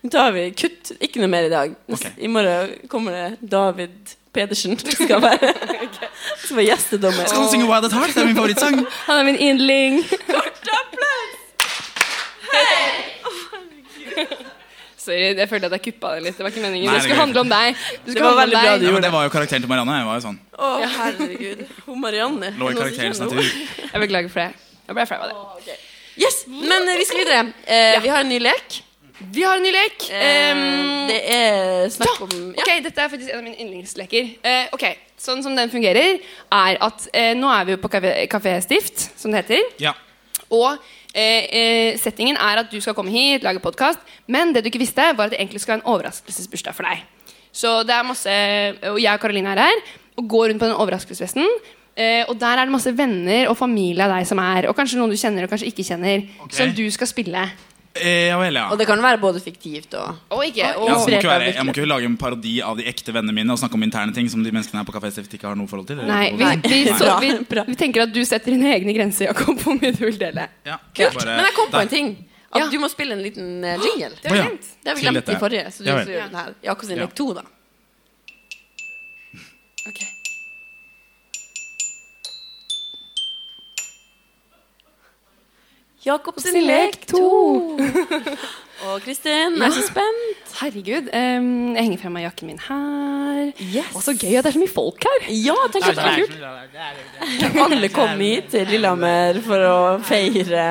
Nå tar vi kutt. Ikke noe mer i dag. Ok. I morgen kommer det David Pedersen. Skal være, skal være gjestedommer. Skal hun synge Wild at Heart? Det er min favorittsang. Han er min yndling. Sorry, jeg følte at jeg kuppa det litt. Det var ikke meningen. Nei, det det skulle går handle om deg. Det, skulle var handle om veldig bra deg. Ja, men det var jo karakteren til Marianne. Jeg var jo sånn. Å, herregud. Hun Marianne. Lå i karakterens natur. Jeg beklager for det. Jeg ble flau av det. Yes, Men eh, vi skal videre. Eh, Vi har en ny lek. Vi har en ny lek. Eh, Ehm, det er snakk om ja. Ok, Dette er faktisk en av mine yndlingsleker. Eh, ok, Sånn som den fungerer, er at eh, nå er vi jo på kafé- Kafé Stift, som det heter. Ja. Og eh, eh, settingen er at du skal komme hit, lage podkast, men det du ikke visste, var at det egentlig skal være en overraskelsesbursdag for deg. Så det er masse Og jeg og Karoline er her og går rundt på den overraskelsesfesten. Eh, og der er det masse venner og familie av deg som er, og kanskje noen du kjenner og kanskje ikke kjenner, Ok. som du skal spille. Eh, ja vel, ja. Og det kan være både fiktivt og Og ikke og, Ja, så det må inspirert ikke av være, jeg må ikke lage en parodi av de ekte vennene mine og snakke om interne ting som de menneskene her på Kafé Stift ikke har noe forhold til. eller Nei, vi, noe forhold til. vi, Nei. så, vi, Bra, bra. vi tenker at du setter dine egne grenser, Jakob, hvor mye du vil dele. Ja, Kult. bare- Men jeg kom på der. en ting. At Ja. du må spille en liten eh, jingle. Å, ja. Det har vi Til glemt dette. i forrige. Så du Ja skal vel. gjøre den her. Jakob sin Ja. lek to, da. Jakob sin lek to. Og Kristin er så spent. Herregud, em, jeg henger frem av jakken min her. Yes. Og så gøy at det er så mye folk her. Ja, tenk at det er kult. Alle kom hit til Lillehammer for å feire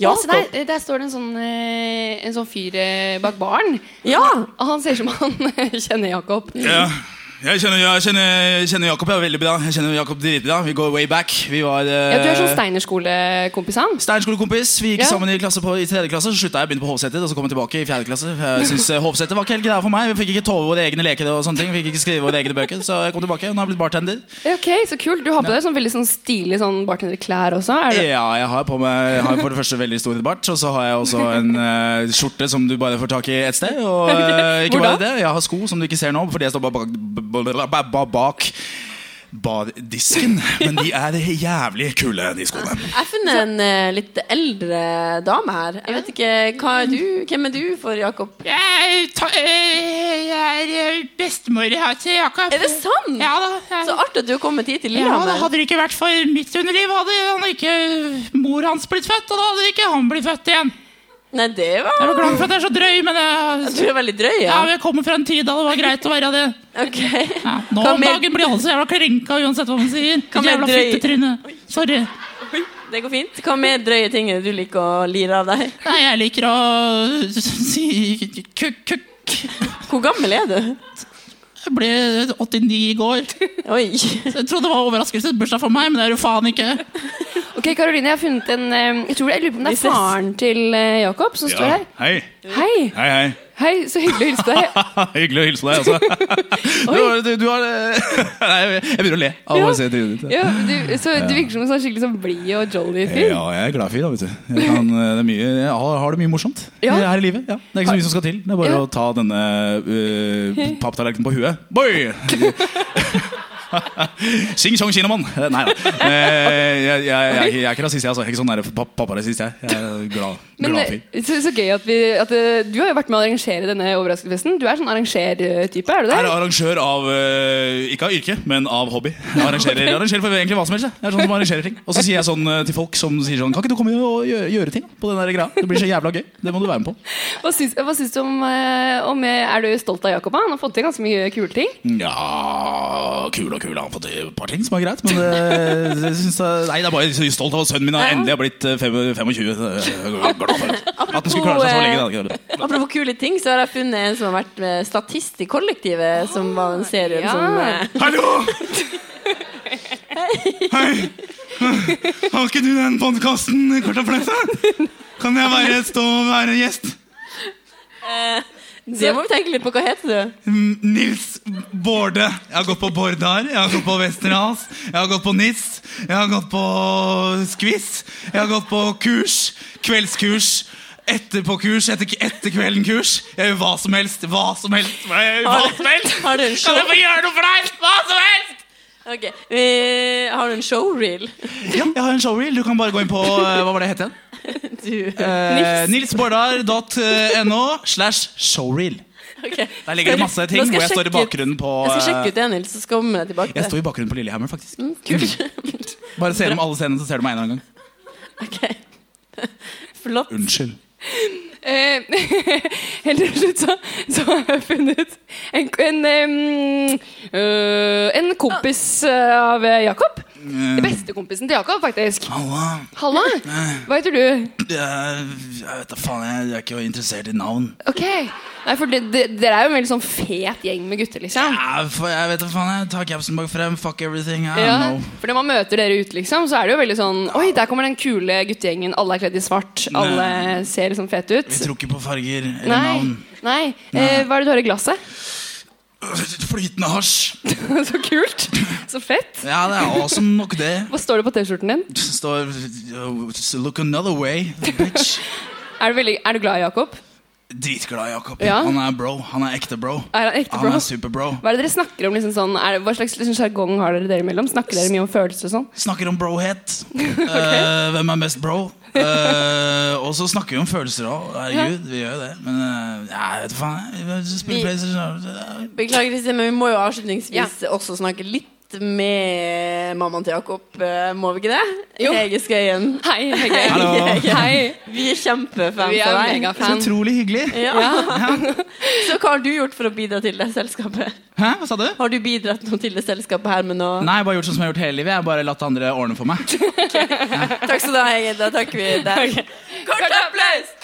Ja, se Jakob. der, der står det en sånn, eh, en sånn fyr eh, bak baren. Ja! Og han ser ut som han kjenner Jakob. Ja. Jeg kjenner, jeg kjenner, jeg kjenner Jakob ja, veldig bra. Jeg kjenner Jakob dritbra. Vi går way back. Vi var eh, Ja, du er sånn steinerskolekompis han. Steinskolekompis. Vi gikk Ja. sammen i klasse på, i tredje klasse, så slutta jeg, begynte på Hovseter, og så kom jeg tilbake i fjerde klasse. Jeg synes eh, Hovseter var ikke helt greia for meg. Vi fikk ikke tove våre egne leker og sånne ting. Vi fikk ikke skrive våre egne bøker, så jeg kom tilbake. Nå har jeg blitt bartender. Eh, Ok, så kult. Du har på deg sånn veldig sånn stilig sånn bartenderklær også. Er det? Ja, jeg har på meg jeg har for det første veldig stor bart, og så har jeg også en eh, skjorte som du bare får tak i et sted. Og eh, ikke Hvor da? bare det, jeg har sko som du ikke ser nå, fordi jeg står bak, bak, bak, bak, bak bardisken. Men de er jævlig kule, de skoene. Jeg har funnet en eh, litt eldre dame her. Jeg vet ikke, hva er du? Hvem er du for Jakob? Jeg, ta, eh, jeg er bestemora til Jakob. Er det sant? Ja da. Jeg, Så artig at du har kommet hit til ja, da Lillehammer. hadde det ikke vært for mitt underliv, hadde han ikke mor hans blitt født. Og da hadde ikke han blitt født igjen. Nei, det Jeg var er glad for at jeg er så drøy, men jeg, Du er veldig drøy, ja, ja. jeg kommer fra en tid da det var greit å være det. Ok. Ja, nå Hva om mer- dagen blir han så jævla krenka uansett hva man sier. Hva mer Jævla drøy- fittetryne. Sorry. Det går fint. Hva mer drøye ting er det du liker å lire av deg? Nei, jeg liker å si kukk-kukk. Hvor gammel er du? Jeg ble 89 i går. Oi. Så Jeg trodde det var overraskelsesbursdag for meg, men det er jo faen ikke. Ok, Karoline, jeg har funnet en eh, Jeg tror jeg lurer på om det er Vi ses. faren til eh, Jakob som står her. Hei. Hei! Hei, hei. Hei, så hyggelig å hilse på deg. Hyggelig å hilse deg, altså. Du, har- du, du har eh, Nei, jeg jeg begynner å le av å se trynet ditt. Ja, du, så du virker som en sånn skikkelig sånn blid og jolly fyr. Ja, jeg er glad fyr, da, vet du. Jeg, kan, eh, det er mye, jeg har, har det mye morsomt Ja. her i livet. Ja. Det er ikke så mye som skal til. Det er bare Ja. å ta denne uh, papptallerkenen på huet. Boy! Sing song kinamann! Eh, Nei da. Eh, Jeg, jeg, jeg, jeg er ikke rasist, jeg. Altså. Jeg er ikke sånn der papp- papparasist, jeg. Jeg er glad, Men glad eh, fyr. så, så gøy at vi at, eh, Du har jo vært med å arrangere denne overraskelsesfesten. Du er sånn arrangertype, er du det? Jeg er arrangør av eh, Ikke av yrke, men av hobby. Jeg arrangerer, jeg arrangerer for egentlig hva som helst. Jeg. jeg er sånn som arrangerer ting Og så sier jeg sånn eh, til folk som sier sånn Kan ikke du komme og gjøre, gjøre ting på den der greia? Det blir så jævla gøy. Det må du være med på. Hva syns, hva syns du om, eh, om eh, Er du stolt av Jakob? Han har fått til ganske mye kule ting. Ja Kul og kul. Han har fått et par ting som er greit. Men det, jeg synes det, nei, det er bare så stolt av at sønnen min har endelig har blitt eh, fem- 25. Jeg er glad for det. At han skulle klare seg så lenge. det hadde ikke vært- Apropos kule ting, så har jeg funnet en som har vært eh, statist i kollektivet, som Ah, var en serie ja. som eh, Hallo! Hei! Har ikke du den podkasten, Kort og Flesse? Kan jeg bare stå og være gjest? Det må vi tenke litt på. Hva heter du? M- Nils Bårde. Jeg har gått på Bårdar, jeg har gått på Westerdals, jeg har gått på NIS, jeg har gått på Skviss, jeg har gått på kurs, kveldskurs, etterpåkurs, etter, etter kvelden-kurs. Jeg gjør hva som helst, hva som helst, hva, hva som helst! Har du en Kan jeg show? få gjøre noe for deg? Hva som helst! Ok, vi Har du en showreel? Ja, jeg har en showreel. Du kan bare gå inn på eh, Hva var det het igjen? Du. Eh, Nilsbordar.no slash showreel. Ok. Der ligger det masse ting Nå skal hvor jeg sjekke står i bakgrunnen på ut- Jeg skal eh, sjekke ut det, Nils, så skal vi komme deg tilbake. til Jeg det. står i bakgrunnen på Lillehammer, faktisk. Kult. Bare se gjennom alle scenene, så ser du meg en eller annen gang. Ok. Flott. Unnskyld. Eh, Helt til slutt så, så har jeg funnet en, en, em, øh, en kompis eh, av Jakob. Bestekompisen til Jakob, faktisk. Mm. Halla. Halla! Hva heter du? Eh, Jeg vet da faen, jeg jeg er ikke interessert i navn. Ok. Nei, for det- det- Dere er jo en veldig sånn fet gjeng med gutter, liksom. Ja, for jeg vet da faen, jeg tar capsen bak frem. Fuck everything. Ja, I don't know. for Når man møter dere ute, liksom, så er det jo veldig sånn Oi, der kommer den kule guttegjengen. Alle er kledd i svart. Alle ser liksom fete Vi ut. tror ikke på farger eller Nei. navn. Nei. Eh, hva er det du har i glasset? Flytende hasj. Så kult. Så fett. Ja, det er awesome nok, det. Hva står det på T-skjorten din? Det står uh, Look another way, bitch. Er du, veldig, er du glad i Jakob? Dritglad i Jakob. Ja. Han er bro. Han er ekte bro. Er han ekte Han bro? er superbro. Hva er det dere snakker om? liksom sånn, er det, Hva slags liksom, sjargong har dere dere imellom? Snakker dere mye om følelser og sånn? Snakker om brohet. Eh, hvem er mest bro? Eh, og så snakker vi om følelser òg. Herregud, vi gjør jo det. Men eh, jeg vet faen. jeg. Vi Vi- Spiller PlayStation. Beklager, Kristin, men vi må jo avslutningsvis også snakke litt med mammaen til Jakob. eh, Må vi ikke det? Jo. Hege Skøyen. Hei, Hege. Hallo. Hei. Vi er kjempefans Vi er av deg. megafan. Utrolig hyggelig. Ja. Så hva har du gjort for å bidra til det selskapet? Hæ, hva sa du? Har du bidratt noe til det selskapet her med noe? Nei, jeg har bare gjort sånn som jeg har gjort hele livet. Jeg har bare latt andre ordne for meg. Takk skal du ha, Hege. Da takker vi deg. Kort applaus!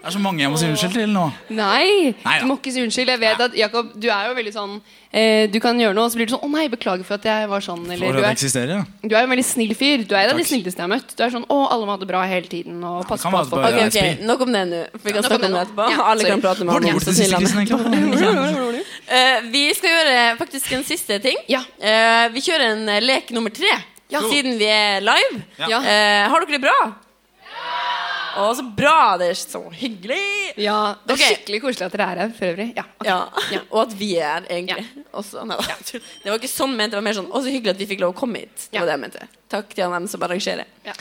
Det er så mange jeg må si unnskyld til nå. Nei, Neida. du må ikke si unnskyld. Jeg vet at Jakob, du er jo veldig sånn eh, Du kan gjøre noe, og så blir du sånn Å nei, beklager for at jeg var sånn. Eller, du, er, eksisterer, ja. du er en veldig snill fyr. Du er en av de Takk. snilleste jeg har møtt. Du er sånn Å, alle må ha det bra hele tiden. Og pass kan på være at folk bare- Ok, Ja, ok, spill. Nok om det nå. For vi kan Ja, nok om snakke om det det nå. etterpå. Ja, Alle sorry. Eh, kan prate med Har du ham. gjort det siste, Kristin? egentlig? vi skal gjøre faktisk en siste ting. Ja. Eh, vi kjører en eh, lek nummer tre, siden vi er live. Ja. Eh, har dere det bra? Å, så bra! Det er så hyggelig! Ja, det er Ok. skikkelig koselig at dere er her, for øvrig. Ja, ok. Ja. Og at vi er her, egentlig. Også, nei, da. Det var ikke sånn ment. Det var mer sånn Å, så hyggelig at vi fikk lov å komme hit. Det Ja. var det jeg mente. Takk til han dem som arrangerer. Ja.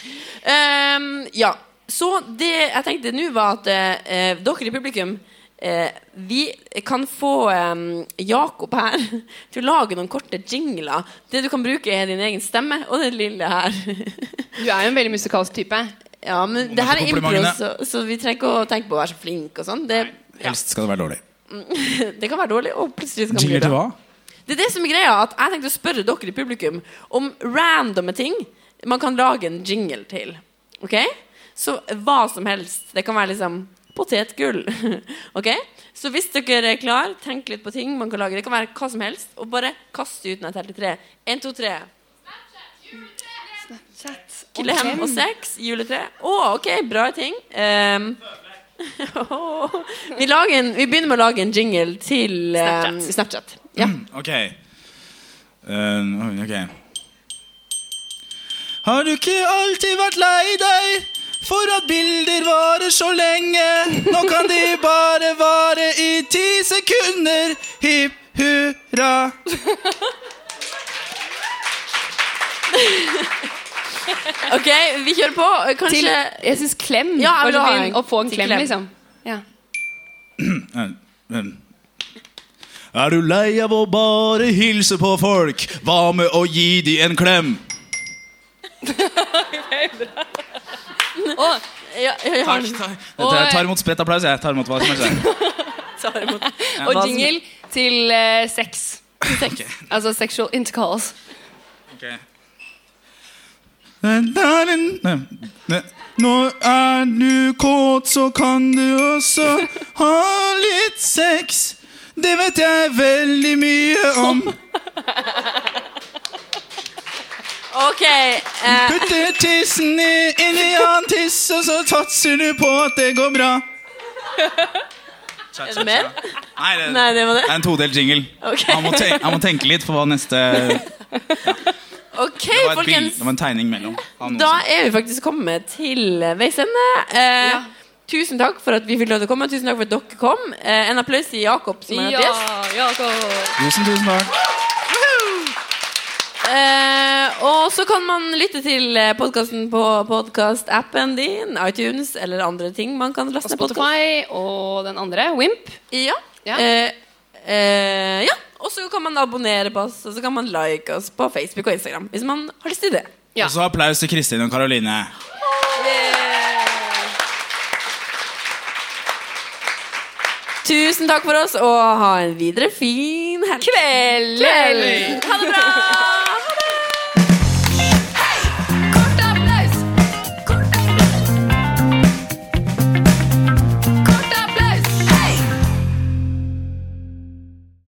Ehm, ja. Så det jeg tenkte nå, var at eh, dere i publikum eh, Vi kan få eh, Jakob her til å lage noen korte jingler. Det du kan bruke, er din egen stemme og den lille her. Du er jo en veldig musikalsk type. Ja, men Må det her ikke er impro, komplimentene. så, så vi trenger ikke å tenke på å være så flink og sånn. Det, Helst skal det være dårlig. det kan være dårlig, og plutselig så kan det bli bra. Det er det som er greia, at jeg tenkte å spørre dere i publikum om randomme ting man kan lage en jingle til. Ok? Så hva som helst. Det kan være liksom potetgull. ok? Så hvis dere er klar, tenk litt på ting man kan lage. Det kan være hva som helst. Og bare kast det ut når jeg teller til tre. Én, to, tre. Klem og sex. Juletre. Å, ok, bra ting. Ehm, vi, lager en, vi begynner med å lage en jingle til ehm, Snapchat. Ja. Ok. Eh, ok. Har du ikke alltid vært lei deg for at bilder varer så lenge? Nå kan de bare vare i ti sekunder. Hipp hurra. Ok, vi kjører på. Kanskje Til, jeg syns klem Ja, jeg var vil så ha fin. en- Å få en til klem, klem. liksom. Ja. Eh, eh. Er du lei av å bare hilse på folk? Hva med å gi de en klem? ja, ja, ja. Takk, takk. Dette, jeg tar imot spredt applaus. Jeg tar imot hva som helst. Tar imot. Og Hva som- jingle til eh, sex. Okay. Altså sexual intercourse. Ok. Når er du kåt, så kan du også ha litt sex. Det vet jeg veldig mye om. sånn- Ok. Eh, Putter tissen i- inn i annen tiss, og så satser du på at det går bra. er det mer? Nei, det, Nei, det var det. er en todelt jingle. Ok. Jeg, må tenke, jeg må tenke litt på hva neste Det Ok, var, et bild, folkens. det var en tegning mellom. av noe Da som- er vi faktisk kommet til veis ende. Eh, Tusen takk for at vi fikk lov til å komme. Tusen takk for at dere kom. Eh, en applaus til Jakob, som har vært gjest. Jakob. Tusen, tusen takk. Eh, og så kan man lytte til podkasten på podkastappen din, iTunes eller andre ting man kan laste Og ned podcast. Spotify og den andre, Wimp. Ja. Ja. Eh, eh, ja. Og så kan man abonnere på oss, og så kan man like oss på Facebook og Instagram. Hvis man har lyst til det. Ja. Og så applaus til Kristin og Karoline. Tusen takk for oss, og ha en videre fin helg. Kveld! Ha det bra!